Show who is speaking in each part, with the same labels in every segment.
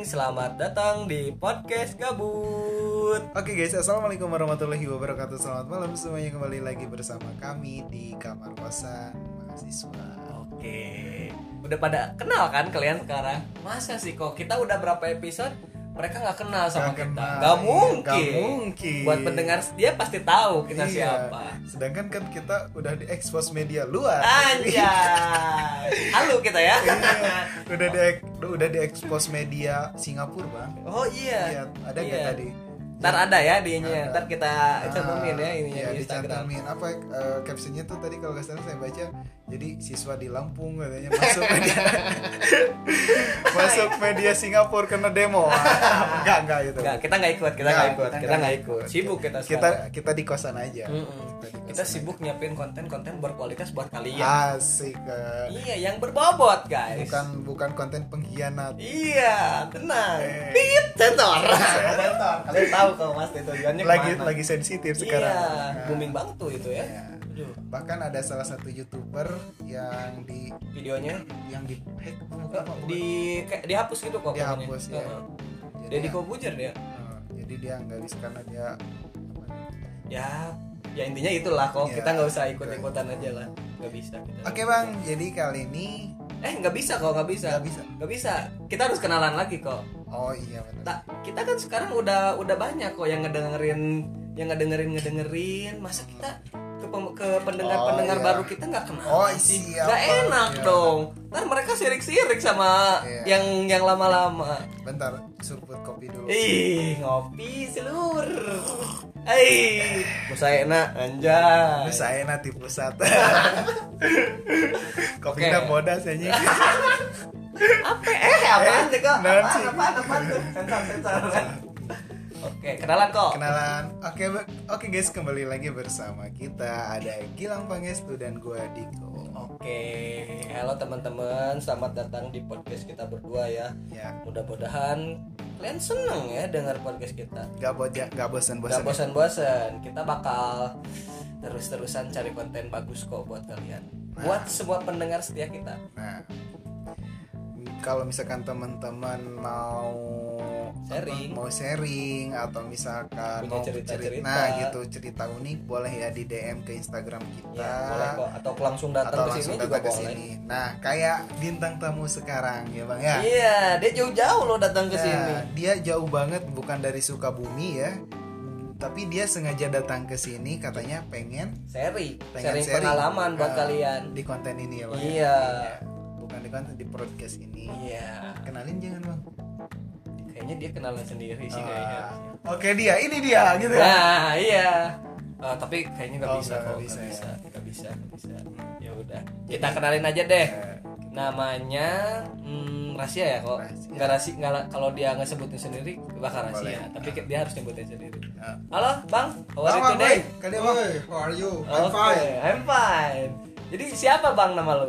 Speaker 1: selamat datang di podcast gabut.
Speaker 2: Oke guys, assalamualaikum warahmatullahi wabarakatuh. Selamat malam semuanya kembali lagi bersama kami di kamar kosan mahasiswa.
Speaker 1: Oke, udah pada kenal kan kalian sekarang? Masa sih kok kita udah berapa episode mereka nggak kenal sama
Speaker 2: Nggak
Speaker 1: kita?
Speaker 2: kenal,
Speaker 1: Gak
Speaker 2: iya.
Speaker 1: mungkin.
Speaker 2: Nggak mungkin.
Speaker 1: Buat pendengar dia pasti tahu kita
Speaker 2: Iya.
Speaker 1: siapa.
Speaker 2: Sedangkan kan kita udah di expose media luar.
Speaker 1: Anjay. Halo kita ya.
Speaker 2: Iya. udah di udah di expose media Singapura bang.
Speaker 1: oh iya.
Speaker 2: Iya, ada nggak
Speaker 1: Iya.
Speaker 2: tadi?
Speaker 1: Ntar ada ya dinya.
Speaker 2: Ada.
Speaker 1: Ntar kita cantumin ya ininya
Speaker 2: Iya,
Speaker 1: di Instagram.
Speaker 2: dicantumin. Apa eh, captionnya tuh tadi kalau nggak salah saya baca jadi siswa di Lampung katanya masuk media masuk media Singapura kena demo. enggak enggak gitu.
Speaker 1: Nggak, kita nggak ikut, kita nggak ikut, Iya, kita nggak ikut. Sibuk kita
Speaker 2: Kita
Speaker 1: sekarang.
Speaker 2: kita di kosan aja.
Speaker 1: Mm-mm.
Speaker 2: di
Speaker 1: Kita
Speaker 2: kosan
Speaker 1: sibuk nyiapin konten-konten berkualitas buat
Speaker 2: aja.
Speaker 1: kalian.
Speaker 2: Asik. eh.
Speaker 1: Iya, yang berbobot, guys.
Speaker 2: Ah. Bukan bukan konten pengkhianat.
Speaker 1: Iya, tenang.
Speaker 2: Eh.
Speaker 1: Pit, sensor. Sensor. Kalian tahu kalau Mas tujuannya
Speaker 2: Lagi
Speaker 1: kemana.
Speaker 2: lagi sensitif
Speaker 1: Iya,
Speaker 2: sekarang. Nah,
Speaker 1: booming banget tuh itu ya.
Speaker 2: iya.
Speaker 1: Aduh,
Speaker 2: Bahkan ada salah satu YouTuber yang di
Speaker 1: videonya
Speaker 2: yang di hack
Speaker 1: eh, di kayak dihapus gitu kok. pokoknya.
Speaker 2: dihapus ya.
Speaker 1: Heeh.
Speaker 2: Jadi,
Speaker 1: Jadi
Speaker 2: ya,
Speaker 1: Kobujer oh. dia.
Speaker 2: eh, jadi dia nggak bisa karena dia apa?
Speaker 1: Ya, ya intinya itulah kok.
Speaker 2: Iya,
Speaker 1: Kita nggak usah
Speaker 2: betul.
Speaker 1: ikut-ikutan aja lah. Nggak bisa. kita.
Speaker 2: Oke bang, jadi kali ini
Speaker 1: Eh, nggak bisa kok, nggak bisa.
Speaker 2: nggak bisa.
Speaker 1: Nggak bisa. Kita harus kenalan lagi kok.
Speaker 2: Oh iya benar.
Speaker 1: Tak, kita kan sekarang udah udah banyak kok yang ngedengerin yang ngedengerin ngedengerin masa kita ke pem- ke pendengar-pendengar
Speaker 2: Oh, iya.
Speaker 1: baru kita nggak kenal
Speaker 2: Oh,
Speaker 1: sih
Speaker 2: siapa?
Speaker 1: nggak enak
Speaker 2: Iya.
Speaker 1: dong ntar mereka sirik-sirik sama
Speaker 2: Iya.
Speaker 1: yang yang lama-lama
Speaker 2: Bentar, surput kopi dulu.
Speaker 1: ih ngopi selur Hei, saya enak anjay.
Speaker 2: Terus saya nanti pusat. kopi
Speaker 1: Oke.
Speaker 2: udah bodas ya Nyi.
Speaker 1: Apa? Eh, apaan sih kok?
Speaker 2: nanti.
Speaker 1: Apaan, apaan, apaan tuh? Sensor, sensor. kan? Oke, kenalan kok.
Speaker 2: Kenalan. Oke Bang. oke guys, kembali lagi bersama kita ada Gilang Pangestu dan gua Diko.
Speaker 1: Oh. Oke, halo teman-teman, selamat datang di podcast kita berdua ya.
Speaker 2: Ya,
Speaker 1: Mudah-mudahan kalian seneng ya dengar podcast kita.
Speaker 2: nggak boja, nggak bosan-bosan.
Speaker 1: Gak bosan-bosan, kita bakal terus-terusan cari konten bagus kok buat kalian. Buat semua pendengar setia kita.
Speaker 2: Nah, kalau misalkan teman-teman mau
Speaker 1: Sharing.
Speaker 2: apa, mau sharing atau misalkan
Speaker 1: Punya
Speaker 2: mau
Speaker 1: cerita-cerita.
Speaker 2: nah gitu cerita unik boleh ya di DM ke Instagram kita
Speaker 1: Ya, boleh kok atau langsung datang ke
Speaker 2: Nah. atau langsung
Speaker 1: sini juga
Speaker 2: datang ke
Speaker 1: boleh.
Speaker 2: sini. Nah, kayak bintang tamu sekarang ya Bang ya.
Speaker 1: Iya, dia jauh-jauh loh datang Iya, ke
Speaker 2: Ya,
Speaker 1: sini.
Speaker 2: dia jauh banget bukan dari Sukabumi ya. Tapi dia sengaja datang ke sini katanya pengen
Speaker 1: Seri,
Speaker 2: Pengen
Speaker 1: sharing
Speaker 2: sharing.
Speaker 1: pengalaman buat
Speaker 2: Ah.
Speaker 1: kalian.
Speaker 2: di konten ini ya Bang. ya?
Speaker 1: Iya.
Speaker 2: Bukan di konten di podcast ini.
Speaker 1: Iya,
Speaker 2: Kenalin jangan Bang.
Speaker 1: kayaknya dia kenalan sendiri sih kayaknya.
Speaker 2: Ah, Oke dia, ini dia gitu ya.
Speaker 1: Nah, iya. Eh, tapi kayaknya nggak
Speaker 2: Oh,
Speaker 1: bisa kok,
Speaker 2: nggak
Speaker 1: nggak
Speaker 2: bisa
Speaker 1: bisa,
Speaker 2: ya.
Speaker 1: nggak bisa, nggak bisa. Ya udah, kita kenalin aja deh.
Speaker 2: Eh,
Speaker 1: Namanya hmm, rahasia ya kok.
Speaker 2: Rahasia.
Speaker 1: Nggak rahasia, nggak la- kalau dia nggak sebutin sendiri bakal rahasia.
Speaker 2: Boleh.
Speaker 1: Tapi ki- dia harus nyebutin sendiri.
Speaker 2: Ah.
Speaker 1: Halo, bang, how are you
Speaker 2: Bang,
Speaker 1: today?
Speaker 2: Bang, kalian bang.
Speaker 3: Hey, how are you?
Speaker 1: Oke,
Speaker 3: I'm fine.
Speaker 1: I'm fine. Jadi siapa bang nama lu?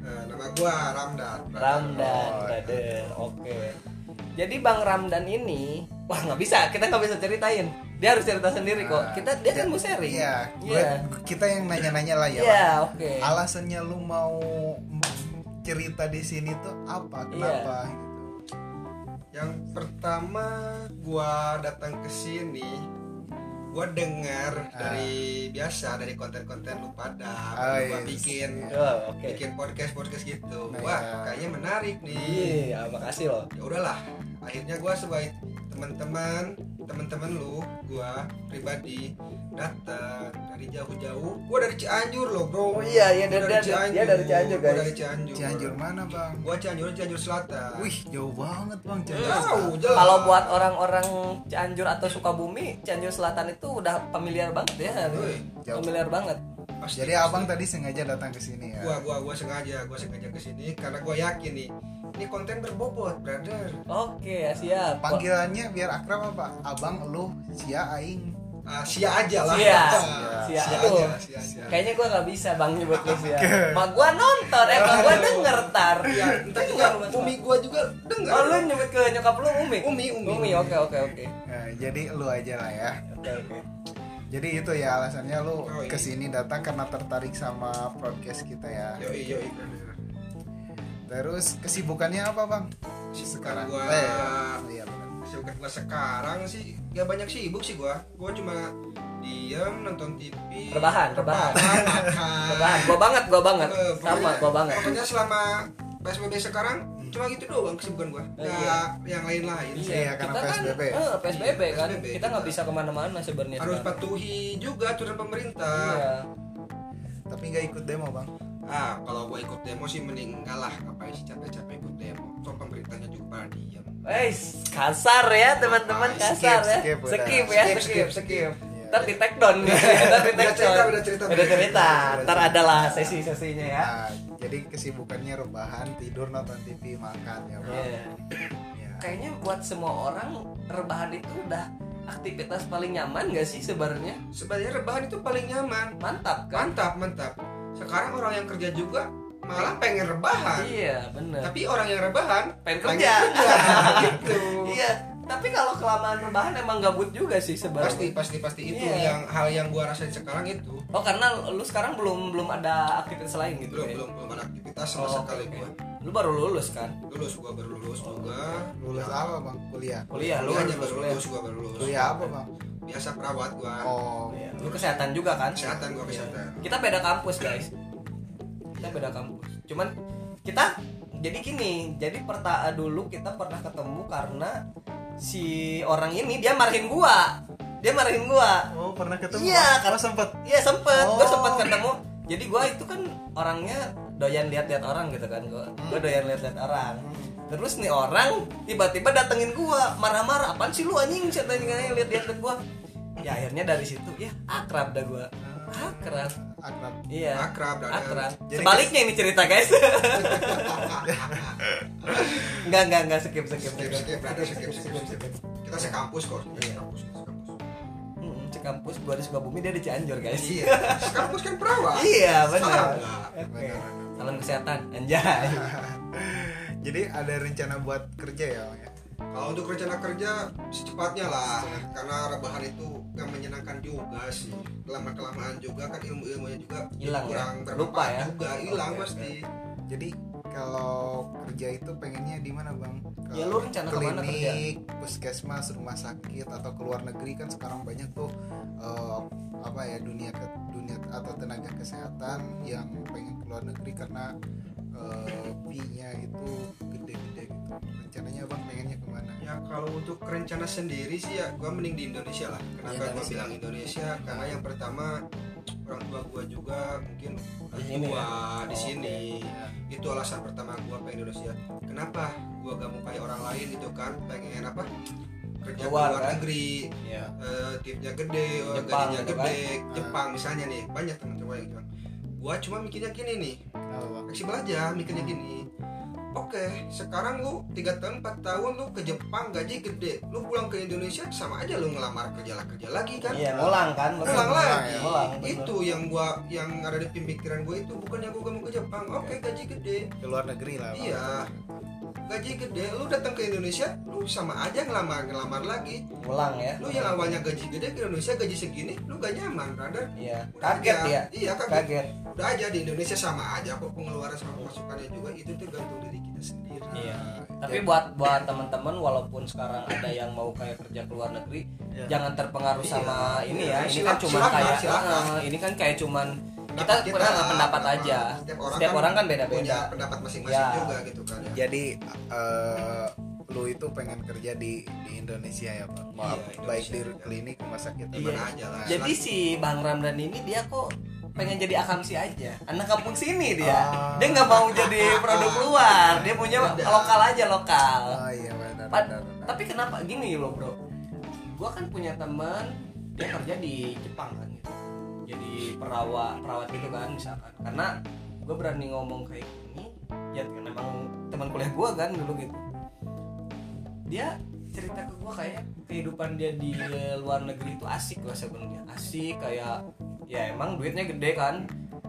Speaker 3: Nah, nama gua Ramdan.
Speaker 1: Ramdan,
Speaker 2: Oh,
Speaker 1: brother. Oke. Jadi Bang Ramdan ini, wah nggak bisa, kita nggak bisa ceritain. Dia harus cerita sendiri
Speaker 2: Ah,
Speaker 1: kok. Kita dia kan mau sharing.
Speaker 2: Iya,
Speaker 1: Iya.
Speaker 2: gue- kita yang nanya-nanya lah ya.
Speaker 1: Iya,
Speaker 2: Bang.
Speaker 1: oke.
Speaker 2: Alasannya lu mau mau cerita di sini tuh apa?
Speaker 1: Iya.
Speaker 2: Kenapa? gitu.
Speaker 3: Yang pertama gua datang ke sini gua dengar
Speaker 2: Ah.
Speaker 3: dari biasa dari konten-konten lu pada
Speaker 1: Ah,
Speaker 2: Oh,
Speaker 3: gua
Speaker 2: yes.
Speaker 3: bikin
Speaker 1: Oh, oke.
Speaker 3: bikin podcast podcast gitu.
Speaker 2: Nah,
Speaker 3: Wah,
Speaker 2: iya.
Speaker 3: kayaknya menarik nih.
Speaker 1: Iya, makasih loh.
Speaker 3: Ya udahlah. Akhirnya gua sebagai teman-teman teman-teman lu gua pribadi datang dari jauh-jauh gua dari Cianjur loh
Speaker 1: Oh,
Speaker 3: bro
Speaker 1: iya, iya,
Speaker 3: Gua
Speaker 1: dia- dia- dia dari Cianjur,
Speaker 3: Gua
Speaker 1: guys.
Speaker 3: dari Cianjur
Speaker 2: Cianjur mana bang?
Speaker 3: gua Cianjur Cianjur Selatan
Speaker 2: Wih jauh banget bang Cianjur.
Speaker 3: jauh jelas
Speaker 1: Kalau buat orang-orang Cianjur atau Sukabumi, Cianjur Selatan itu udah familiar banget ya.
Speaker 3: Wih,
Speaker 2: jauh.
Speaker 1: Familiar banget.
Speaker 3: pasti,
Speaker 2: Jadi
Speaker 3: pasti.
Speaker 2: abang tadi sengaja datang ke sini ya.
Speaker 3: gua gua gua sengaja gua sengaja ke sini karena gua yakin nih ini konten berbobot brother
Speaker 1: Oke, siap.
Speaker 2: Panggilannya biar akrab apa? Abang lu Sia Aing.
Speaker 3: Ah, sia aja lah Ah,
Speaker 1: Sia. Sia.
Speaker 3: sia,
Speaker 1: Aduh.
Speaker 3: aja sia aja
Speaker 1: Kayaknya gua nggak bisa bang nyebut lu sih ya. Mak gua nonton, eh mak gua denger tar. Ya,
Speaker 3: Iya, entah juga
Speaker 1: Denger, Mas.
Speaker 3: umi gua juga dengar
Speaker 1: Oh lu nyebut ke nyokap lu Umi?
Speaker 3: Umi, Umi.
Speaker 1: Umi, oke oke oke
Speaker 2: Nah, jadi lu aja lah ya.
Speaker 1: Oke oke
Speaker 2: Jadi itu ya alasannya lu
Speaker 3: Oh, iya.
Speaker 2: kesini datang karena tertarik sama
Speaker 3: Iya.
Speaker 2: podcast kita ya.
Speaker 3: yoi yoi brother
Speaker 2: Terus kesibukannya apa bang? sekarang.
Speaker 3: gua
Speaker 2: Eh, iya, benar.
Speaker 3: kesibukan gua sekarang sih gak banyak sibuk sih gua gua cuma diem nonton TV
Speaker 1: Rebahan, rebahan.
Speaker 3: makan
Speaker 1: Rebahan, gua banget, gua banget.
Speaker 3: Eh,
Speaker 1: Sama,
Speaker 3: pokoknya-
Speaker 1: gua banget.
Speaker 3: pokoknya selama PSBB sekarang cuma gitu doang kesibukan gua
Speaker 1: Eh,
Speaker 3: nggak yang lain-lain sih.
Speaker 2: Iya, karena
Speaker 1: kita kan,
Speaker 2: PSBB.
Speaker 1: eh, PSBB
Speaker 3: Iya,
Speaker 1: kan,
Speaker 3: PSBB
Speaker 1: kita nggak
Speaker 3: kita.
Speaker 1: bisa kemana-mana sebenarnya. Iya.
Speaker 3: harus
Speaker 1: sekarang.
Speaker 3: patuhi juga aturan pemerintah
Speaker 1: Iya.
Speaker 2: Tapi nggak ikut demo bang.
Speaker 3: ah kalau gua ikut demo sih mending enggak lah ngapain sih capek-capek ikut demo toh pemerintahnya juga pada diem
Speaker 1: Wes, Eh, kasar ya teman-teman,
Speaker 3: Skip,
Speaker 1: kasar ya.
Speaker 2: skip udah.
Speaker 1: Skip ya,
Speaker 3: Skip,
Speaker 1: skip,
Speaker 3: skip,
Speaker 1: skip.
Speaker 2: Iya.
Speaker 1: Ntar di take down nih. Ntar di
Speaker 3: Udah
Speaker 1: take
Speaker 3: cerita,
Speaker 1: down.
Speaker 3: udah cerita.
Speaker 1: Udah cerita.
Speaker 2: Udah
Speaker 1: Ntar
Speaker 2: cerita.
Speaker 1: adalah
Speaker 3: iya
Speaker 1: sesi-sesinya ya.
Speaker 2: Nah, jadi kesibukannya rebahan, tidur, nonton TV, makan ya bang.
Speaker 1: Iya.
Speaker 2: Iya.
Speaker 1: Kayaknya buat semua orang rebahan itu udah aktivitas paling nyaman gak sih sebenarnya?
Speaker 3: sebenarnya rebahan itu paling nyaman
Speaker 1: Mantap kan?
Speaker 3: mantap mantap sekarang orang yang kerja juga malah pengen rebahan
Speaker 1: Iya, bener.
Speaker 3: tapi orang yang rebahan
Speaker 1: Pengen
Speaker 3: pengen
Speaker 1: kerja.
Speaker 3: gitu
Speaker 1: Iya, tapi kalau kelamaan rebahan emang gabut juga sih sebenarnya.
Speaker 3: pasti pasti pasti itu
Speaker 1: Iya.
Speaker 3: yang hal yang gua rasain sekarang itu
Speaker 1: Oh karena lu sekarang belum belum ada aktivitas lain gitu
Speaker 3: belum
Speaker 2: iya.
Speaker 1: ya?
Speaker 3: belum belum ada aktivitas sama
Speaker 1: Oh,
Speaker 3: sekali
Speaker 1: oke,
Speaker 3: gua
Speaker 1: oke. Lu baru lulus kan?
Speaker 3: lulus gua baru lulus juga
Speaker 2: Lulus apa bang? Kuliah.
Speaker 1: Kuliah, lu
Speaker 3: Gua
Speaker 1: kan
Speaker 3: aja
Speaker 1: lulus
Speaker 3: baru
Speaker 1: kuliah.
Speaker 3: lulus gua baru lulus
Speaker 2: Kuliah apa bang?
Speaker 3: biasa perawat gua
Speaker 2: Oh,
Speaker 1: Iya, Lu kesehatan juga kan?
Speaker 3: kesehatan gua kesehatan
Speaker 1: Kita beda kampus guys. Kita beda kampus. Cuman kita jadi gini, jadi perta dulu kita pernah ketemu karena si orang ini dia marahin gua. Dia marahin gua.
Speaker 2: oh pernah ketemu?
Speaker 1: Iya,
Speaker 2: Bang?
Speaker 1: karena-
Speaker 2: oh, sempet.
Speaker 1: Iya sempet, gua
Speaker 2: Oh.
Speaker 1: sempet ketemu. Jadi gua itu kan orangnya doyan lihat-lihat orang gitu kan gua.
Speaker 3: Hmm.
Speaker 1: Gua doyan lihat-lihat orang. Terus nih orang tiba-tiba datengin gua, marah-marah, "Apaan sih lu anjing?" Katanya kayak lihat-lihat gua. Ya akhirnya dari situ ya akrab dah gua. Akrab.
Speaker 2: Akrab.
Speaker 1: Iya.
Speaker 3: akrab dan
Speaker 1: Akrab.
Speaker 2: Jadi-
Speaker 1: Sebaliknya ini cerita, guys. Enggak, enggak, enggak skip skip
Speaker 3: skip
Speaker 1: skip.
Speaker 3: skip brother skip skip skip kita sekampus kok kita
Speaker 1: Iya.
Speaker 3: sekampus kita sekampus
Speaker 1: Hmm, Cekampus gua di Sukabumi, dia di Cianjur, guys.
Speaker 3: iya sekampus kan perawat
Speaker 1: Iya,
Speaker 3: Salah
Speaker 1: benar.
Speaker 3: nggak?
Speaker 1: Oke.
Speaker 2: Benar.
Speaker 1: Salam kesehatan, anjay.
Speaker 2: Jadi ada rencana buat kerja ya bang ya?
Speaker 3: Kalau untuk rencana kerja secepatnya lah, karena rebahan itu gak menyenangkan juga sih. Lama kelamaan juga kan ilmu-ilmunya juga
Speaker 1: Hilang ya?
Speaker 3: kurang
Speaker 1: Lupa
Speaker 3: bermanfaat
Speaker 1: ya?
Speaker 3: juga, hilang
Speaker 1: Oke,
Speaker 3: pasti.
Speaker 2: Jadi kalau kerja itu pengennya di mana bang? Ke
Speaker 1: Ya, lu rencana kemana kerja?
Speaker 2: klinik, puskesmas, rumah sakit atau ke luar negeri kan sekarang banyak tuh eh, apa ya dunia ke dunia atau tenaga kesehatan yang pengen ke luar negeri karena eh, fee-nya itu gede-gede gitu. Rencananya bang pengennya kemana?
Speaker 3: Ya kalau untuk rencana sendiri sih ya gua mending di Indonesia lah. Kenapa
Speaker 1: Iya,
Speaker 3: gua
Speaker 1: Indonesia.
Speaker 3: bilang Indonesia? Karena yang pertama orang tua gua juga mungkin
Speaker 1: Di
Speaker 3: orang
Speaker 1: sini
Speaker 3: tua
Speaker 1: Oh,
Speaker 3: di sini.
Speaker 1: oke.
Speaker 3: Itu alasan pertama gua ke Indonesia. Kenapa gua gak mau kayak orang lain gitu kan? Pengen apa? Kerja ke
Speaker 1: Luar,
Speaker 3: luar
Speaker 1: kan?
Speaker 3: negeri,
Speaker 1: Iya.
Speaker 3: eh timnya gede,
Speaker 1: Jepang
Speaker 3: gajinya
Speaker 1: gitu
Speaker 3: gede, Jepang misalnya nih, banyak teman-teman yang bilang, kan. gua cuma mikirnya gini nih,
Speaker 2: Kenapa
Speaker 1: Oh,
Speaker 2: bang?
Speaker 3: fleksibel aja mikirnya
Speaker 1: Hmm.
Speaker 3: gini. Oke, sekarang lu 3 tahun, 4 tahun lu ke Jepang gaji gede, lu pulang ke Indonesia sama aja lu ngelamar kerja lah kerja lagi kan?
Speaker 1: Iya, ngulang kan? Lu
Speaker 3: Ulang
Speaker 2: ngulang
Speaker 3: lagi.
Speaker 2: ya,
Speaker 1: ngulang, bener.
Speaker 3: itu yang gua yang ada di pemikiran gua itu bukan yang gua mau ke Jepang. Oke,
Speaker 1: Iya.
Speaker 3: gaji gede.
Speaker 2: Ke luar negeri lah. Bang.
Speaker 3: Iya. Gaji gede, lu datang ke Indonesia, lu sama aja ngelamar-ngelamar lagi
Speaker 1: Ngulang ya.
Speaker 3: lu yang awalnya gaji gede ke Indonesia gaji segini lu gak nyaman brother
Speaker 1: Iya.
Speaker 3: Udah
Speaker 1: Kaget
Speaker 3: aja.
Speaker 1: ya.
Speaker 3: iya kaget.
Speaker 1: Kaget.
Speaker 3: udah aja di Indonesia sama aja kok pengeluaran sama pemasukannya juga itu tergantung diri kita sendiri
Speaker 1: Iya. Tapi buat buat teman-teman walaupun sekarang ada yang mau kayak kerja ke luar negeri,
Speaker 2: Iya.
Speaker 1: jangan terpengaruh
Speaker 3: Iya.
Speaker 1: sama ini ya.
Speaker 3: Iya,
Speaker 1: Ini
Speaker 3: silak-
Speaker 1: kan cuman
Speaker 3: silakan,
Speaker 1: kayak
Speaker 3: silakan.
Speaker 1: eh, ini kan kayak cuman kita
Speaker 3: Pendapat
Speaker 1: pernah nggak pendapat aja.
Speaker 3: setiap orang,
Speaker 1: Setiap
Speaker 3: kan,
Speaker 1: orang kan
Speaker 3: punya
Speaker 1: beda-beda.
Speaker 3: pendapat masing-masing
Speaker 1: Iya.
Speaker 3: juga gitu kan ya
Speaker 2: Jadi eh, lu itu pengen kerja di di Indonesia ya bang?
Speaker 3: Iya,
Speaker 2: Maaf, baik di
Speaker 3: Indonesia.
Speaker 2: klinik, rumah sakit,
Speaker 1: Iya.
Speaker 2: mana
Speaker 3: aja lah.
Speaker 1: Jadi si Bang Ramdan ini dia kok pengen jadi akamsi aja. Anak kampung sini dia. Iya.
Speaker 2: Ah.
Speaker 1: Dia nggak mau jadi produk luar. Dia punya
Speaker 3: Beda.
Speaker 1: lokal aja lokal.
Speaker 2: Oh iya benar
Speaker 1: Pa-
Speaker 2: benar. benar.
Speaker 1: tapi kenapa gini loh bro gua kan punya teman dia kerja di Jepang kan gitu jadi perawat perawat gitu kan misalkan karena gue berani ngomong kayak gini ya karena emang teman kuliah gua kan dulu gitu dia cerita ke gua kayak kehidupan dia di luar negeri itu asik lah sebenarnya asik kayak ya emang duitnya gede kan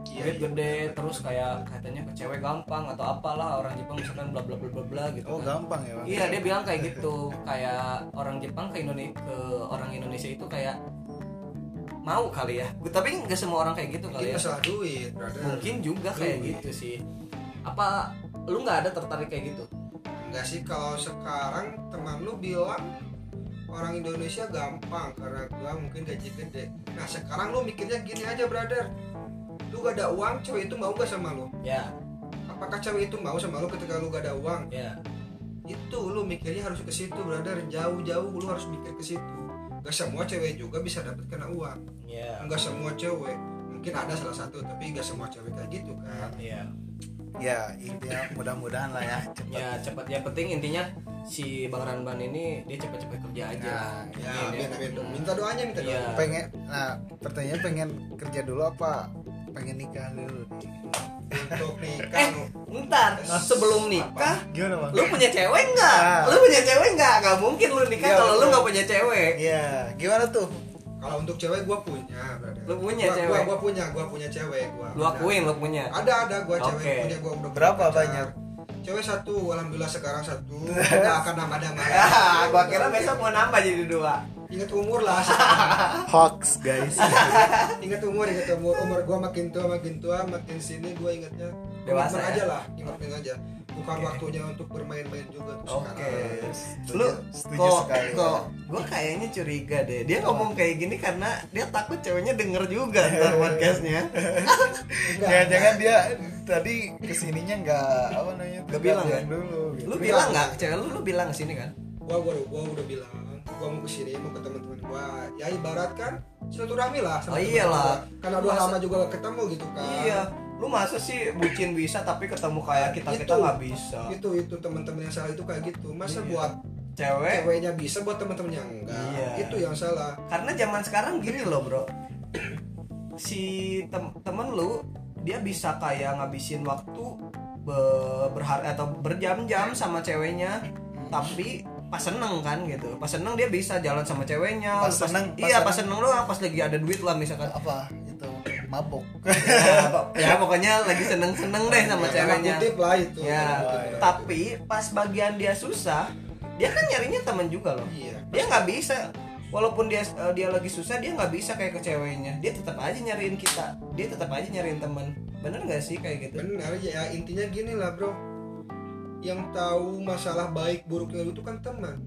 Speaker 3: Iya,
Speaker 1: duit
Speaker 3: iya.
Speaker 1: gede terus kayak katanya ke cewek gampang atau apalah orang Jepang misalkan bla bla bla bla bla gitu
Speaker 2: Oh
Speaker 1: kan.
Speaker 2: gampang ya bang?
Speaker 1: Iya dia bilang kayak gitu kayak orang Jepang ke Indonesia ke orang Indonesia itu kayak mau kali ya tapi nggak semua orang kayak gitu
Speaker 3: Mungkin
Speaker 1: kali ya
Speaker 3: masalah duit brother
Speaker 1: mungkin juga kayak
Speaker 3: Duit.
Speaker 1: gitu sih apa lu nggak ada tertarik kayak gitu
Speaker 3: Enggak sih kalau sekarang teman lu bilang orang Indonesia gampang karena gua mungkin gaji gede. Nah sekarang lu mikirnya gini aja brother. Lu gak ada uang, cewek itu mau gak sama lu?
Speaker 1: ya
Speaker 3: Apakah cewek itu mau sama lu ketika lu gak ada uang?
Speaker 1: ya
Speaker 3: itu lu mikirnya harus ke situ brother jauh-jauh lu harus mikir ke situ Gak semua cewek juga bisa dapat kena uang
Speaker 1: ya
Speaker 3: Gak semua cewek mungkin ada salah satu tapi gak semua cewek kayak gitu kan
Speaker 1: ya
Speaker 2: ya intinya mudah-mudahan lah ya cepat
Speaker 1: ya cepat yang penting intinya si bang Ranban ini dia cepet-cepet kerja aja
Speaker 2: Nah,
Speaker 3: ya
Speaker 1: Ini dia-
Speaker 3: minta minta minta doanya minta
Speaker 1: Iya.
Speaker 3: doanya
Speaker 2: pengen nah pertanyaan pengen kerja dulu apa pengen nikah dulu nih
Speaker 3: untuk nikah
Speaker 1: eh
Speaker 3: lu.
Speaker 1: bentar sebelum nikah
Speaker 2: gimana bang
Speaker 1: lu punya cewek nggak
Speaker 2: Ah.
Speaker 1: lu punya cewek nggak nggak mungkin lu nikah
Speaker 2: Iya,
Speaker 1: kalau lu
Speaker 2: betul.
Speaker 1: nggak punya cewek
Speaker 2: Iya, gimana tuh
Speaker 3: kalau untuk cewek gua punya brother
Speaker 1: Lu punya
Speaker 3: gua,
Speaker 1: cewek?
Speaker 3: gua, gua punya gua punya cewek gua
Speaker 1: lu
Speaker 3: Ada.
Speaker 1: akuin lu punya
Speaker 3: ada ada gua cewek
Speaker 1: Oke.
Speaker 3: punya gua udah
Speaker 2: Berapa
Speaker 3: pacar.
Speaker 2: banyak?
Speaker 3: cewek satu alhamdulillah sekarang satu nggak akan nambah nambah
Speaker 1: Ah, gua kira besok mau nambah jadi dua
Speaker 3: ingat umur lah sekarang.
Speaker 2: hoax guys
Speaker 3: ingat umur ingat umur umur gue makin tua makin tua makin sini gue ingatnya
Speaker 1: Dewasa
Speaker 3: komitmen
Speaker 1: ya?
Speaker 3: aja lah komitmen aja bukan waktunya untuk bermain-main juga tuh sekarang
Speaker 2: Setuju-
Speaker 1: lu
Speaker 2: setuju
Speaker 1: kok
Speaker 2: sekali.
Speaker 1: kok gue kayaknya curiga deh dia ngomong kayak gini karena dia takut ceweknya denger juga ntar podcastnya
Speaker 3: Enggak,
Speaker 2: jangan-jangan dia tadi kesininya nggak apa namanya
Speaker 1: Nggak bilang,
Speaker 2: nggak
Speaker 1: ya?
Speaker 2: dulu gitu.
Speaker 1: lu bilang nggak cewek lu lu bilang sini kan
Speaker 3: gue gue gue udah bilang gue mau kesini mau ke teman-teman gue ya ibarat kan silaturahmi lah
Speaker 1: Oh,
Speaker 3: sama teman-teman
Speaker 1: iyalah.
Speaker 3: gua. karena udah
Speaker 1: Masa-
Speaker 3: lama juga gak ketemu gitu kan
Speaker 1: iya lu masa sih bucin bisa tapi ketemu kayak kita kita
Speaker 3: Itu.
Speaker 1: nggak bisa
Speaker 3: itu Gitu. itu teman-teman yang salah itu kayak gitu masa
Speaker 1: Iya.
Speaker 3: buat
Speaker 1: cewek
Speaker 3: ceweknya bisa buat teman-temannya enggak
Speaker 1: Iya.
Speaker 3: itu yang salah
Speaker 1: karena zaman sekarang gini loh bro si tem temen lu dia bisa kayak ngabisin waktu be- berhar atau berjam-jam sama ceweknya tapi pas seneng kan gitu pas seneng dia bisa jalan sama ceweknya
Speaker 2: Pas seneng, pas
Speaker 1: iya pas
Speaker 2: seneng.
Speaker 1: seneng lu pas lagi ada duit lah misalkan
Speaker 2: apa itu mabuk
Speaker 1: ya pokoknya lagi seneng seneng deh sama
Speaker 2: Iya,
Speaker 3: Ya, tanda
Speaker 1: ceweknya
Speaker 3: kutip lah itu Gitu.
Speaker 1: ya
Speaker 3: Tanda kutip lah.
Speaker 1: tapi pas bagian dia susah dia kan nyarinya temen juga loh
Speaker 3: iya
Speaker 1: dia nggak bisa walaupun dia eh, dia lagi susah dia nggak bisa kayak ke ceweknya dia tetap aja nyariin kita dia tetap aja nyariin teman bener nggak sih kayak gitu
Speaker 3: Benar ya intinya gini lah bro Yang tahu masalah baik buruknya lu itu kan teman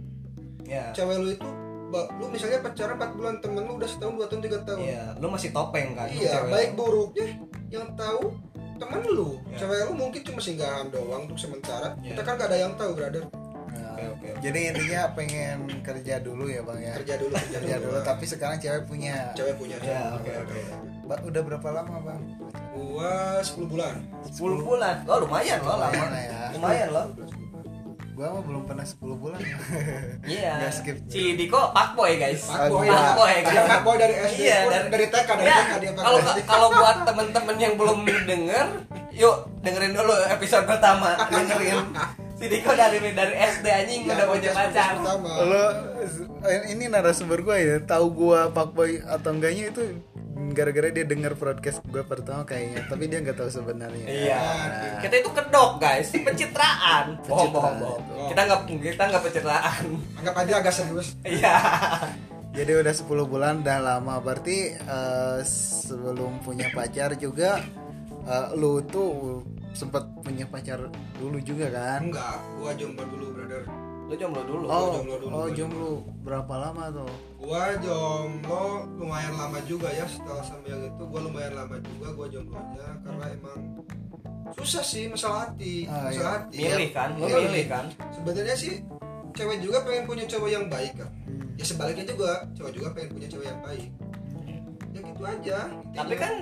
Speaker 1: ya
Speaker 3: Cewek lu itu ba- Lu misalnya pacaran 4 bulan temen lu udah setahun 2 tahun 3 tahun
Speaker 1: Iya, lu masih topeng kan
Speaker 3: Iya
Speaker 1: cewek.
Speaker 3: baik buruknya yang tahu temen lu
Speaker 1: Iya.
Speaker 3: Cewek lu mungkin cuma singgahan doang untuk sementara
Speaker 1: Iya.
Speaker 3: Kita kan gak ada yang tahu brother
Speaker 1: oke oke
Speaker 2: jadi intinya pengen kerja dulu ya bang ya
Speaker 3: Kerja dulu
Speaker 2: kerja dulu tapi sekarang cewek punya
Speaker 3: Cewek punya
Speaker 1: Iya,
Speaker 3: cewek.
Speaker 1: oke, oke.
Speaker 2: Ba- udah berapa lama bang
Speaker 3: Gua 10 bulan
Speaker 1: 10 bulan oh lumayan loh lama
Speaker 2: Lumayan lah ya.
Speaker 1: lumayan loh
Speaker 3: 10 bulan.
Speaker 2: gua mah belum pernah 10 bulan
Speaker 1: iya
Speaker 2: Nggak skip.
Speaker 1: si Diko pakboy guys
Speaker 3: Fuckboy
Speaker 2: Iya.
Speaker 3: lah.
Speaker 1: Fuckboy,
Speaker 3: Dia
Speaker 1: kan?
Speaker 3: fuckboy dari SD
Speaker 1: Iya,
Speaker 3: pun,
Speaker 1: dari-
Speaker 3: dari TK dari
Speaker 1: Ya,
Speaker 3: TK dia
Speaker 1: kalau
Speaker 3: fuckboy.
Speaker 1: kalau buat temen-temen yang belum denger, yuk dengerin dulu episode pertama, dengerin. Si Diko dari dari SD anjing
Speaker 3: Iya,
Speaker 1: udah punya
Speaker 3: podcast-
Speaker 1: pacar.
Speaker 3: podcast pertama.
Speaker 2: lo eh, ini narasumber gua ya tahu gua fuckboy atau enggaknya itu gara-gara dia denger podcast gua pertama kayaknya tapi dia nggak tahu sebenarnya
Speaker 1: Iya.
Speaker 3: Ah.
Speaker 1: Kita itu kedok guys, si pencitraan. Bohong, bohong, bohong.
Speaker 3: Bohong.
Speaker 1: Kita nggak kita nggak pencitraan.
Speaker 3: Anggap aja agak serius
Speaker 1: Iya.
Speaker 2: Jadi udah 10 bulan udah lama berarti eh, sebelum punya pacar juga eh, lu tuh sempat punya pacar dulu juga kan?
Speaker 3: Enggak, gua jomblo dulu, brother.
Speaker 1: Lu jomblo dulu.
Speaker 2: Oh,
Speaker 3: jomblo dulu,
Speaker 2: oh
Speaker 3: gua
Speaker 2: jomblo berapa lama tuh?
Speaker 3: Gua jomblo lumayan lama juga ya setelah sama yang itu gua lumayan lama juga gua jomblonya karena emang susah sih masalah hati,
Speaker 2: Ah,
Speaker 3: masalah
Speaker 2: iya.
Speaker 3: hati.
Speaker 1: Milih kan, lu
Speaker 3: Iya.
Speaker 1: milih kan.
Speaker 3: Sebenarnya sih cewek juga pengen punya cowok yang baik kan.
Speaker 2: Hmm.
Speaker 3: Ya sebaliknya juga cowok juga pengen punya cowok yang baik. Ya gitu aja. intinya.
Speaker 1: Tapi kan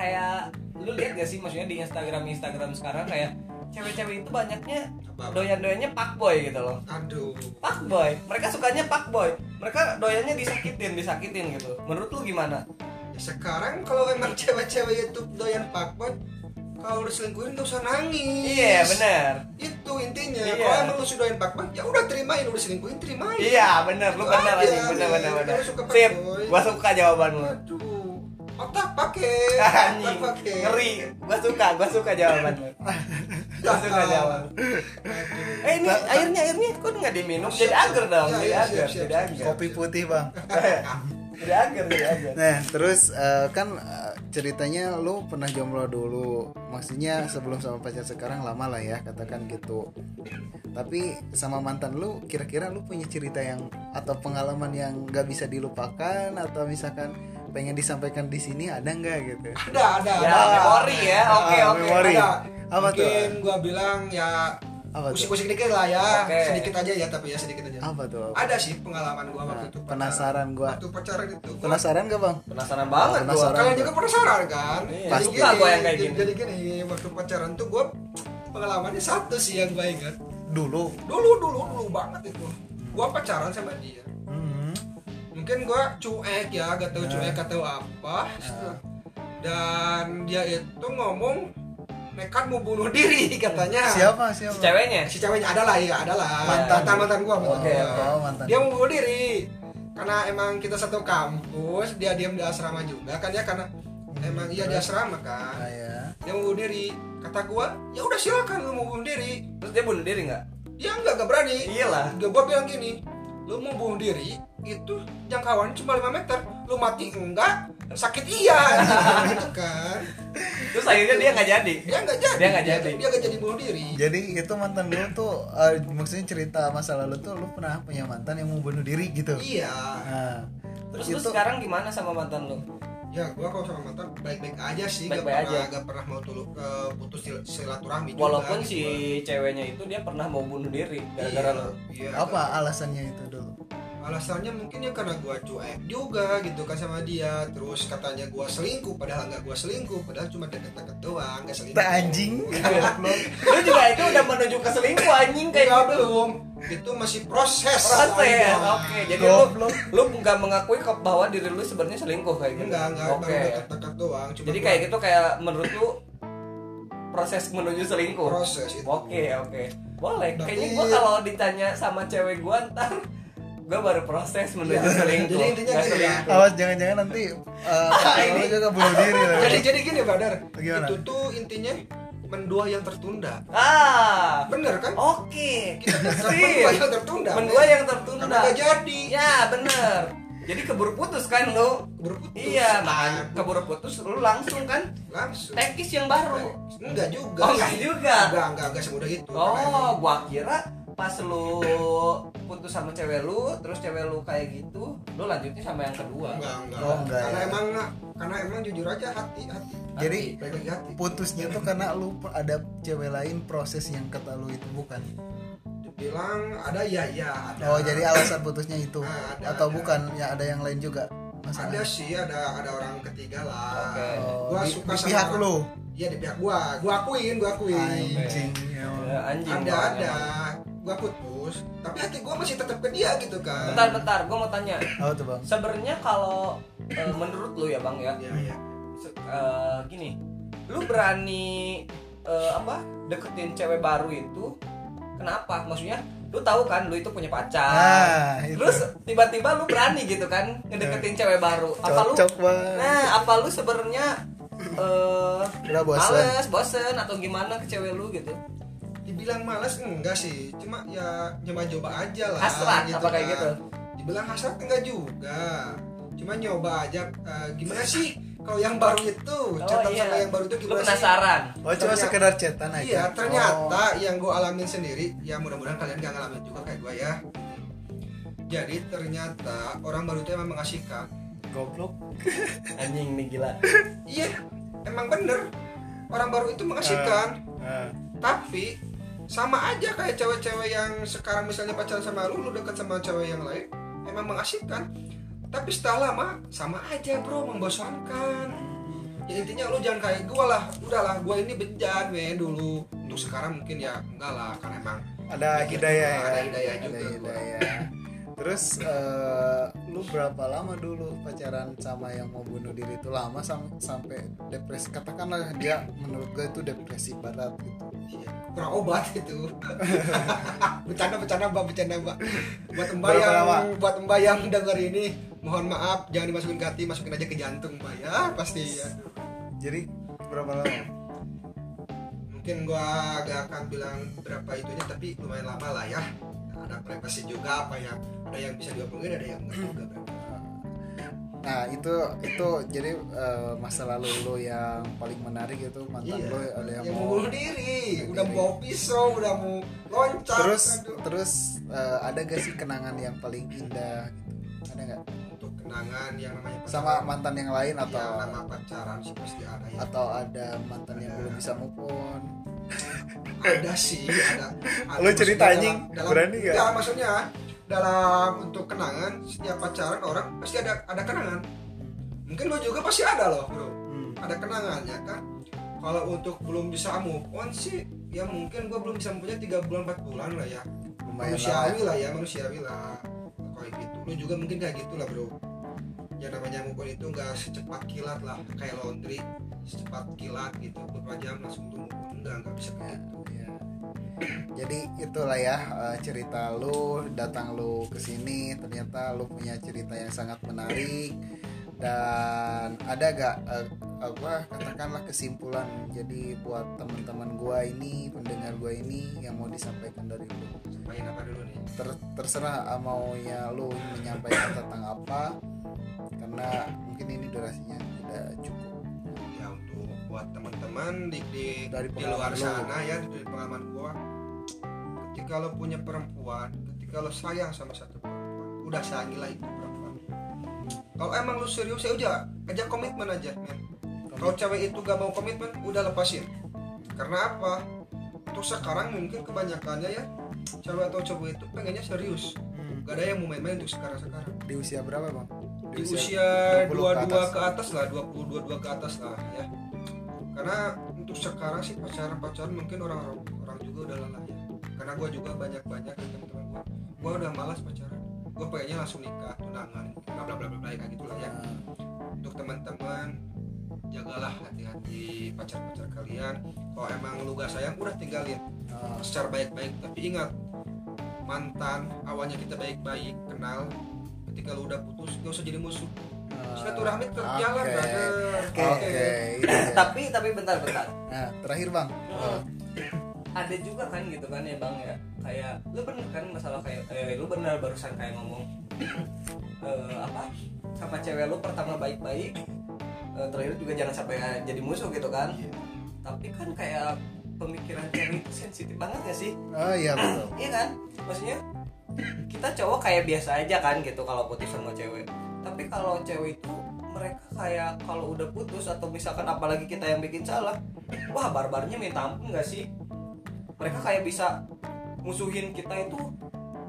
Speaker 1: kayak lu lihat gak sih maksudnya di Instagram Instagram sekarang kayak cewek-cewek itu banyaknya
Speaker 3: Apa?
Speaker 1: doyan-doyannya fuckboy gitu loh.
Speaker 3: aduh.
Speaker 1: Fuckboy, mereka sukanya fuckboy. Mereka doyannya disakitin, disakitin gitu. Menurut lu gimana?
Speaker 3: Ya sekarang kalau emang cewek-cewek itu doyan fuckboy, kalau diselingkuhin gak usah nangis.
Speaker 1: Iya, bener.
Speaker 3: itu intinya
Speaker 1: Iya.
Speaker 3: kalau emang lu sudah yang pakman ya udah terimain udah selingkuhin terimain
Speaker 1: Iya, bener. Lu
Speaker 3: Itu
Speaker 1: bener
Speaker 3: aja,
Speaker 1: anjing, bener
Speaker 3: iya.
Speaker 1: bener bener.
Speaker 3: Lu suka
Speaker 1: Sip,
Speaker 3: fuckboy.
Speaker 1: gua suka jawaban lu.
Speaker 3: aduh otak pakai otak
Speaker 1: Anjing,
Speaker 3: pakai
Speaker 1: ngeri. Gua suka, gua suka jawaban lu. Gua suka jawaban.
Speaker 3: Aduh.
Speaker 1: Eh ini airnya airnya kok nggak diminum jadi
Speaker 3: Siap,
Speaker 1: agar dong,
Speaker 3: siap,
Speaker 1: jadi
Speaker 3: iya,
Speaker 1: agar,
Speaker 3: siap, siap,
Speaker 1: jadi
Speaker 3: siap.
Speaker 1: agar.
Speaker 2: Kopi putih, Bang.
Speaker 1: jadi angker jadi angker
Speaker 2: Nah, terus eh, kan eh, ceritanya lu pernah jomblo dulu. Maksudnya sebelum sama pacar sekarang lama lah ya, katakan gitu. Tapi sama mantan lu kira-kira lu punya cerita yang atau pengalaman yang nggak bisa dilupakan atau misalkan pengen disampaikan di sini ada nggak gitu?
Speaker 3: ada ada
Speaker 1: ya
Speaker 3: ada
Speaker 1: memori ya oke
Speaker 3: Nah,
Speaker 2: Ah,
Speaker 1: oke
Speaker 2: memori.
Speaker 3: ada
Speaker 2: Apa tuh?
Speaker 3: mungkin gua bilang ya
Speaker 2: Apa tuh?
Speaker 3: usik-usik dikit lah ya
Speaker 1: Oke.
Speaker 3: sedikit aja ya tapi ya sedikit aja
Speaker 2: Apa tuh? Apa?
Speaker 3: ada sih pengalaman gua waktu itu pacaran.
Speaker 2: Nah, Penasaran gua.
Speaker 3: waktu pacaran itu gua-
Speaker 2: Penasaran gak bang?
Speaker 1: penasaran banget gua
Speaker 2: Penasaran.
Speaker 3: kalian juga penasaran kan
Speaker 1: Iya,
Speaker 3: Jadi
Speaker 1: suka gua yang kayak gini.
Speaker 3: jadi gini waktu pacaran tuh gua pengalamannya satu sih yang gua ingat
Speaker 2: Dulu.
Speaker 3: dulu dulu dulu banget itu gua pacaran sama dia
Speaker 2: Mhm.
Speaker 3: mungkin gua cuek ya gak tahu cuek
Speaker 2: Nah.
Speaker 3: gak tahu apa dan dia itu ngomong nekat mau bunuh diri katanya
Speaker 2: Siapa siapa?
Speaker 1: si ceweknya
Speaker 3: Eh, si ceweknya ada lah iya ada lah
Speaker 1: Mantan.
Speaker 3: mantan mantan gua mantan
Speaker 1: Oke,
Speaker 3: gua.
Speaker 1: oke.
Speaker 2: Oh, mantan.
Speaker 3: dia mau bunuh diri karena emang kita satu kampus dia diam di asrama juga kan ya karena emang iya di asrama kan
Speaker 2: Ah, ya.
Speaker 3: dia mau bunuh diri kata gua ya udah silakan lu mau bunuh diri
Speaker 1: terus dia bunuh diri nggak Iya
Speaker 3: dia nggak nggak berani
Speaker 1: iyalah
Speaker 3: Gua gua bilang gini lu mau bunuh diri itu jangkauannya cuma 5 meter lu mati enggak sakit iya gitu kan
Speaker 1: terus akhirnya dia nggak jadi
Speaker 3: dia nggak jadi
Speaker 1: Dia nggak jadi.
Speaker 3: dia nggak jadi bunuh diri
Speaker 2: Jadi itu mantan lu tuh eh, maksudnya cerita masa lalu tuh lu pernah punya mantan yang mau bunuh diri gitu.
Speaker 3: iya
Speaker 2: Nah,
Speaker 1: terus lu
Speaker 2: itu
Speaker 1: sekarang gimana sama mantan lu
Speaker 3: ya gua kalau sama mantan baik-baik aja sih nggak
Speaker 1: Baik-baik
Speaker 3: pernah
Speaker 1: aja.
Speaker 3: nggak pernah mau tuluk ke putus sil- silaturahmi juga,
Speaker 1: walaupun
Speaker 3: gitu.
Speaker 1: si ceweknya itu dia pernah mau bunuh diri gara-gara
Speaker 3: Iya,
Speaker 1: lu
Speaker 3: iya,
Speaker 2: apa alasannya itu dulu?
Speaker 3: alasannya mungkin ya karena gua cuek juga gitu kan sama dia terus katanya gua selingkuh padahal nggak gua selingkuh padahal cuma deket-deket doang nggak selingkuh
Speaker 2: Kita anjing.
Speaker 3: Iya.
Speaker 2: Goblok.
Speaker 1: lu juga itu udah menuju ke selingkuh anjing kayak
Speaker 3: Nggak,
Speaker 1: gitu
Speaker 3: Iya, belum itu masih proses Iya.
Speaker 1: proses
Speaker 3: Aduh.
Speaker 1: ya, oke jadi lu
Speaker 2: Goblok.
Speaker 1: lu nggak mengakui ke- bahwa diri lu sebenarnya selingkuh kayak gitu
Speaker 3: enggak enggak
Speaker 1: oke
Speaker 3: baru deket-deket doang cuma
Speaker 1: jadi
Speaker 3: gua-
Speaker 1: kayak gitu kayak menurut lu proses menuju selingkuh oke
Speaker 3: proses itu
Speaker 1: oke boleh
Speaker 3: Tapi-
Speaker 1: kayaknya gua kalau ditanya sama cewek gua ntar gua baru proses menuju
Speaker 3: Iya.
Speaker 1: selingkuh
Speaker 3: Jadi intinya
Speaker 1: Nggak
Speaker 3: gini ya.
Speaker 1: selingkuh.
Speaker 2: Awas jangan-jangan nanti eh, pacar lu juga bunuh diri lah.
Speaker 3: jadi jadi gini badar
Speaker 2: Gimana?
Speaker 3: itu tuh intinya mendua yang tertunda
Speaker 1: ah
Speaker 3: bener kan
Speaker 1: oke
Speaker 3: kita
Speaker 1: Sip.
Speaker 3: tetap mendua yang Iya. tertunda
Speaker 1: mendua Iya. yang
Speaker 3: karena
Speaker 1: tertunda
Speaker 3: nggak jadi
Speaker 1: ya bener jadi keburu putus kan lu
Speaker 3: berputus
Speaker 1: iya makanya
Speaker 3: Aduh,
Speaker 1: keburu putus lu langsung kan
Speaker 3: langsung
Speaker 1: tekis yang baru
Speaker 3: enggak juga
Speaker 1: Oh, enggak juga.
Speaker 3: enggak enggak enggak semudah itu Karena emang
Speaker 1: Oh, gua kira pas lu putus sama cewek lu, terus cewek lu kayak gitu, lu lanjutnya sama yang kedua.
Speaker 3: enggak enggak,
Speaker 2: Oh, enggak
Speaker 3: karena
Speaker 2: ya.
Speaker 3: emang karena emang jujur aja hati hati
Speaker 2: Jadi
Speaker 3: baik lagi hati
Speaker 2: putusnya tuh karena lu per- ada cewek lain proses yang kata lu itu bukan.
Speaker 3: dibilang ada ya ya
Speaker 1: Nah.
Speaker 3: ada
Speaker 2: Oh, jadi alasan putusnya itu
Speaker 3: Ah, ada,
Speaker 2: atau
Speaker 3: ada.
Speaker 2: bukan? Ya ada yang lain juga.
Speaker 3: ada
Speaker 2: Masalah.
Speaker 3: sih ada ada orang ketiga lah
Speaker 1: Oke.
Speaker 2: Oh,
Speaker 3: gua
Speaker 2: di,
Speaker 3: suka
Speaker 2: di
Speaker 3: sama
Speaker 2: pihak lu.
Speaker 3: iya di pihak gua gua akuin gua akuin
Speaker 2: Anjing.
Speaker 1: Ya, anjing.
Speaker 3: ada
Speaker 1: orangnya.
Speaker 3: ada gua putus tapi hati gua masih tetap ke dia gitu kan
Speaker 1: Bentar, bentar, gua mau tanya.
Speaker 2: Apa tuh, Bang?
Speaker 1: Sebenarnya kalau eh, menurut lu ya, Bang ya,
Speaker 3: ya ya
Speaker 1: se- eh, gini, lu berani eh, apa? deketin cewek baru itu kenapa? Maksudnya lu tahu kan lu itu punya pacar.
Speaker 2: Nah,
Speaker 3: iya.
Speaker 2: itu.
Speaker 1: Terus tiba-tiba lu berani gitu kan ngedeketin cewek baru. Apa lu
Speaker 2: cocok banget.
Speaker 1: Nah, apa lu sebenarnya eh
Speaker 2: Udah bosan.
Speaker 1: males, bosen atau gimana ke cewek lu gitu?
Speaker 3: dibilang malas enggak sih cuma ya nyoba-nyoba aja lah
Speaker 1: Hasrat apa kayak
Speaker 3: kan.
Speaker 1: gitu?
Speaker 3: dibilang hasrat enggak juga cuma nyoba aja eh, gimana sih kalau yang baru itu catatan
Speaker 1: iya.
Speaker 3: sama yang baru itu
Speaker 1: Lu
Speaker 3: gimana sih
Speaker 1: penasaran.
Speaker 2: Oh cuma
Speaker 3: Ternyata-
Speaker 2: sekedar cetan aja.
Speaker 3: iya ternyata
Speaker 2: Oh.
Speaker 3: yang gue alamin sendiri ya mudah-mudahan kalian gak ngalamin juga kayak gue ya jadi ternyata orang baru itu emang mengasihkan
Speaker 2: Oh,
Speaker 1: Goblok. Anjing nih gila.
Speaker 3: iya emang bener orang baru itu mengasihkan
Speaker 2: Ah.
Speaker 3: tapi sama aja kayak cewek-cewek yang sekarang misalnya pacaran sama lu lu deket sama cewek yang lain emang mengasihkan tapi setelah lama sama aja bro membosankan ya intinya lu jangan kayak gua lah udahlah gua ini bejat men dulu untuk sekarang mungkin ya enggak lah karena emang
Speaker 2: ada
Speaker 3: Ada
Speaker 2: hidayah ya.
Speaker 3: ada hidayah juga
Speaker 2: Ada
Speaker 3: gua.
Speaker 2: hidayah. Terus eh, lu berapa lama dulu pacaran sama yang mau bunuh diri itu lama sam- sampai depresi katakanlah dia menurut gue itu depresi berat gitu.
Speaker 3: iya, kurang obat itu bercanda bercanda mbak bercanda mbak buat mbak
Speaker 2: Berapa
Speaker 3: yang
Speaker 2: lama?
Speaker 3: buat mbak yang dengar ini mohon maaf jangan dimasukin ke hati masukin aja ke jantung mbak ya pasti ya
Speaker 2: Jadi berapa lama?
Speaker 3: mungkin gua gak akan bilang berapa itunya tapi lumayan lama lah ya ada privasi juga apa ya ada yang bisa diobrolin ada yang enggak juga berarti.
Speaker 2: Nah itu itu jadi eh, masa lalu lo yang paling menarik itu mantan
Speaker 3: Iya.
Speaker 2: lo ada yang
Speaker 3: yang
Speaker 2: mau
Speaker 3: mau bunuh diri,
Speaker 2: bunuh
Speaker 3: udah
Speaker 2: diri.
Speaker 3: mau pisau, udah mau loncat. kan
Speaker 2: terus
Speaker 3: aduh.
Speaker 2: terus eh, ada gak sih kenangan yang paling indah gitu ada nggak
Speaker 3: untuk kenangan yang namanya
Speaker 2: sama mantan yang lain
Speaker 3: atau
Speaker 2: atau
Speaker 3: nama pacaran sih pasti ada ya.
Speaker 2: atau ada mantan yang belum bisa move on
Speaker 3: ada sih ada, ada
Speaker 2: Lu cerita,
Speaker 3: Maksudnya
Speaker 2: anjing.
Speaker 3: dalam-
Speaker 2: Berani nggak?
Speaker 3: Nggak, maksudnya dalam untuk kenangan setiap pacaran orang pasti ada ada kenangan mungkin lo juga pasti ada loh bro ada kenangannya kan kalau untuk belum bisa move on sih ya mungkin gue belum bisa punya tiga bulan empat bulan lah ya
Speaker 2: lumayan lama
Speaker 3: manusiawi lah ya manusiawi lah kayak gitu lu juga mungkin kayak gitu lah bro ya namanya move on itu nggak secepat kilat lah kayak laundry secepat kilat gitu beberapa jam langsung tuh move on nggak nggak bisa
Speaker 2: Ya,
Speaker 3: kayak
Speaker 2: ya. jadi itulah ya eh, cerita lu datang lu ke sini ternyata lu punya cerita yang sangat menarik dan ada gak eh, apa katakanlah kesimpulan jadi buat teman-teman gua ini pendengar gua ini yang mau disampaikan dari lu
Speaker 3: main apa dulu nih
Speaker 2: Ter- terserah ah, maunya lu menyampaikan tentang apa karena mungkin ini durasinya tidak cukup
Speaker 3: ya untuk buat teman-teman di di,
Speaker 2: Dari
Speaker 3: di luar
Speaker 2: pengalaman lu.
Speaker 3: sana ya dari pengalaman gua ketika lo punya perempuan ketika lo sayang sama satu perempuan udah sayangilah itu perempuan kalau emang lo serius ya udah ajak komitmen aja men kalau cewek itu gak mau komitmen udah lepasin karena apa untuk sekarang mungkin kebanyakannya ya cewek atau cowok itu pengennya serius
Speaker 2: Hmm.
Speaker 3: gak ada yang mau main-main untuk sekarang sekarang
Speaker 2: di usia berapa bang
Speaker 3: di usia
Speaker 2: 20 ke
Speaker 3: 22
Speaker 2: atas.
Speaker 3: ke atas lah 22 22 ke atas lah ya karena untuk sekarang sih pacaran pacaran mungkin orang orang, orang juga udah lelah ya karena gue juga banyak banyak teman-teman gue gue udah malas pacaran gue pengennya langsung nikah tunangan bla bla bla bla bla kayak gitulah ya
Speaker 2: Nah,
Speaker 3: untuk teman-teman jagalah hati-hati pacar-pacar kalian kalau emang lu gak sayang udah tinggalin
Speaker 2: nah,
Speaker 3: secara baik-baik tapi ingat mantan awalnya kita baik-baik kenal ketika lu udah putus gak usah jadi musuh
Speaker 2: nah,
Speaker 3: silaturahmi tetap
Speaker 2: oke.
Speaker 3: jalan brother
Speaker 2: Oke, itu dia.
Speaker 1: Nah, tapi tapi bentar bentar
Speaker 2: Nah, terakhir bang,
Speaker 1: Oh.
Speaker 2: eh,
Speaker 1: ada juga kan gitu kan ya bang ya kayak lu bener kan masalah kayak eh, lu bener barusan kayak ngomong eh, apa sama cewek lu pertama baik-baik eh, terakhir juga jangan sampai jadi musuh gitu kan tapi kan kayak pemikiran cewek itu sensitif banget gak sih
Speaker 2: oh iya betul.
Speaker 1: iya kan maksudnya kita cowok kayak biasa aja kan gitu kalau putus sama cewek tapi kalau cewek itu mereka kayak kalau udah putus atau misalkan apalagi kita yang bikin salah wah barbarnya minta ampun gak sih mereka kayak bisa musuhin kita itu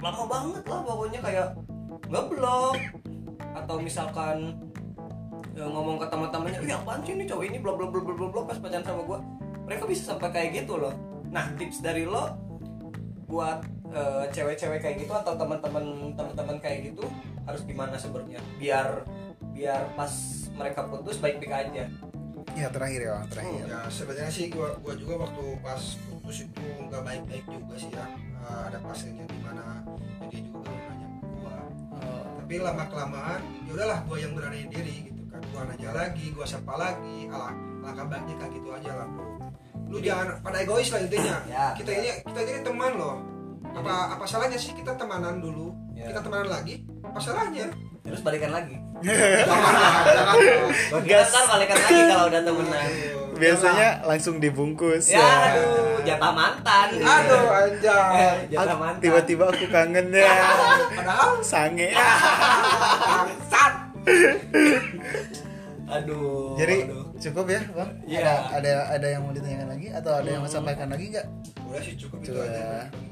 Speaker 1: lama banget lah pokoknya kayak ngeblok atau misalkan ya, ngomong ke teman-temannya iya apaan sih ini cowok ini bla bla bla bla bla bla pas pacaran sama gua mereka bisa sampai kayak gitu loh nah tips dari lo buat eh, cewek-cewek kayak gitu atau teman-teman teman-teman kayak gitu harus gimana sebenarnya biar biar pas mereka putus baik-baik aja
Speaker 2: Ya terakhir ya bang, terakhir.
Speaker 3: ya sebenarnya sih gua gua juga waktu pas putus itu nggak baik-baik juga sih ya Eh, ada pasiennya di mana jadi juga belum nanya ke gua
Speaker 1: Hmm.
Speaker 3: tapi lama kelamaan ya udahlah gua yang berani diri gitu kan gua nanya lagi gua sapa lagi alah langkah baiknya kayak gitu aja lah bro lu jangan pada egois lah intinya
Speaker 1: ya
Speaker 3: kita ini kita ini teman loh apa apa salahnya sih kita temanan dulu
Speaker 1: Ya.
Speaker 3: kita temanan lagi apa salahnya
Speaker 1: terus balikan lagi
Speaker 3: Jangan lah, jangan lah.
Speaker 1: Gas. ntar balikan lagi kalau udah temenan
Speaker 3: Aduh,
Speaker 2: Biasanya langsung dibungkus
Speaker 1: ya aduh jatah mantan
Speaker 3: jangan. Iya. aduh anjay
Speaker 1: Eh, jatah mantan
Speaker 2: Ya. Tiba-tiba aku kangen ya,
Speaker 3: padahal
Speaker 2: sange.
Speaker 3: bangsat
Speaker 1: aduh
Speaker 2: Jadi
Speaker 1: aduh.
Speaker 2: cukup ya bang.
Speaker 1: Iya.
Speaker 2: Ada ada ada yang mau ditanyakan lagi atau ada yang mau sampaikan lagi nggak?
Speaker 3: udah sih cukup itu
Speaker 2: Coba.
Speaker 3: aja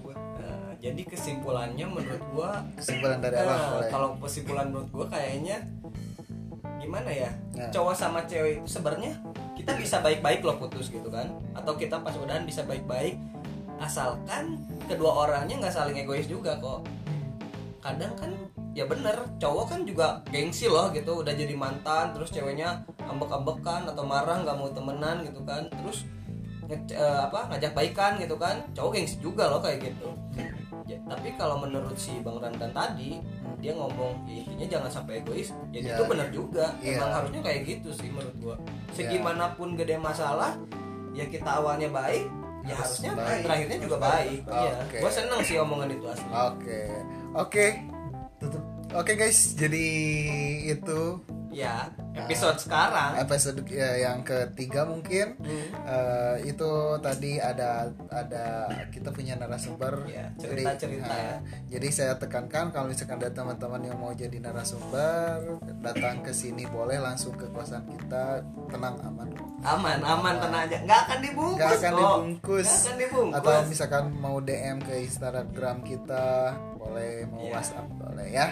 Speaker 3: Gua-
Speaker 1: Nah, jadi kesimpulannya menurut gua
Speaker 2: Kesimpulan dari
Speaker 1: eh,
Speaker 2: abang boleh.
Speaker 1: kalau kesimpulan menurut gua kayaknya gimana ya
Speaker 2: Ya.
Speaker 1: cowok sama cewek itu sebenarnya kita bisa baik-baik loh putus gitu kan atau kita pas udahan bisa baik-baik asalkan kedua orangnya nggak saling egois juga kok kadang kan ya bener cowok kan juga gengsi loh gitu udah jadi mantan terus ceweknya ambek-ambekan atau marah nggak mau temenan gitu kan terus nge- eh, apa ngajak baikan gitu kan cowok gengsi juga loh kayak gitu Ya, tapi kalau menurut si bang Randan tadi dia ngomong "Ya, intinya jangan sampai egois ya
Speaker 2: Ya.
Speaker 1: itu bener juga
Speaker 2: Iya.
Speaker 1: emang harusnya kayak gitu sih menurut gua segimanapun gede masalah ya kita awalnya baik ya
Speaker 2: Harus
Speaker 1: harusnya
Speaker 2: baik.
Speaker 1: terakhirnya juga baik iya
Speaker 2: Oke. Ah.
Speaker 1: gua seneng sih omongan itu asli
Speaker 2: Oke, oke, tutup. Oke guys, jadi itu
Speaker 1: ya episode sekarang
Speaker 2: episode eh, yang ketiga mungkin eh, itu tadi ada ada kita punya narasumber
Speaker 1: Ya,
Speaker 2: Jadi,
Speaker 1: cerita-cerita
Speaker 2: eh,
Speaker 1: ya.
Speaker 2: jadi saya tekankan kalau misalkan ada teman-teman yang mau jadi narasumber datang ke sini boleh langsung ke kosan kita tenang aman
Speaker 1: aman aman tenang aja nggak akan dibungkus
Speaker 2: nggak akan
Speaker 1: kok.
Speaker 2: dibungkus
Speaker 1: Nggak akan dibungkus
Speaker 2: atau misalkan mau DM ke Instagram kita boleh mau
Speaker 1: Iya.
Speaker 2: WhatsApp boleh ya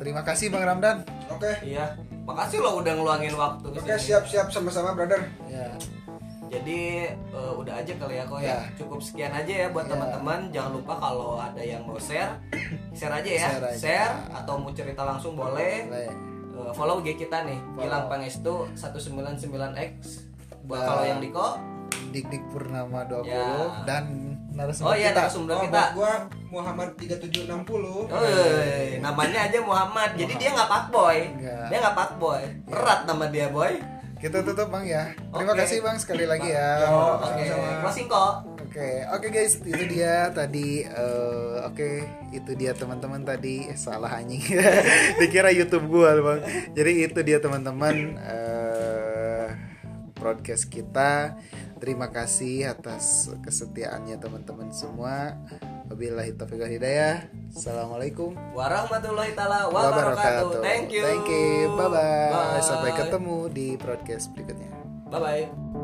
Speaker 2: terima kasih Bang Ramdan
Speaker 3: Oke,
Speaker 1: iya makasih lo udah ngeluangin waktu ke
Speaker 3: oke
Speaker 1: sini.
Speaker 3: siap-siap sama-sama brother.
Speaker 2: ya
Speaker 1: Jadi eh, udah aja kali ya kok ya.
Speaker 2: Ya.
Speaker 1: Cukup sekian aja ya buat
Speaker 2: Ya.
Speaker 1: teman-teman. Jangan lupa kalau ada yang mau share, share aja ya.
Speaker 2: Share
Speaker 1: Share,
Speaker 2: aja.
Speaker 1: atau mau cerita langsung boleh.
Speaker 2: boleh
Speaker 1: Eh, follow IG kita nih.
Speaker 2: Follow.
Speaker 1: Gilang Pangestu 199X. Buat
Speaker 2: Ya.
Speaker 1: kalau yang Diko.
Speaker 2: Dik Dik Purnama 20
Speaker 1: Ya.
Speaker 2: dan
Speaker 1: Oh
Speaker 2: narasumber
Speaker 1: iya
Speaker 2: kita.
Speaker 1: narasumber
Speaker 3: Oh,
Speaker 1: kita.
Speaker 3: buat gua Muhammad 3760.
Speaker 1: Oi, namanya aja Muhammad. Jadi dia nggak fuckboy.
Speaker 2: Nggak. Iya.
Speaker 1: Dia nggak fuckboy. Berat nama dia, boy.
Speaker 2: Kita tutup Bang ya. Terima
Speaker 1: Oke.
Speaker 2: kasih Bang sekali lagi ya.
Speaker 1: Oh,
Speaker 2: Oke.
Speaker 1: Oke,
Speaker 3: sama-sama.
Speaker 1: closing kok.
Speaker 2: Oke, oke guys, itu dia tadi eh, oke, itu dia teman-teman tadi eh, salah anjing. Dikira YouTube gua, Bang. Jadi itu dia teman-teman eh broadcast kita. Terima kasih atas kesetiaannya teman-teman semua. Wabillahi taufiq wal hidayah. Assalamualaikum
Speaker 1: warahmatullahi taala
Speaker 2: wabarakatuh.
Speaker 1: wabarakatuh. Thank you.
Speaker 2: Thank you. Bye-bye.
Speaker 1: Bye.
Speaker 2: Sampai ketemu di broadcast berikutnya.
Speaker 1: Bye bye.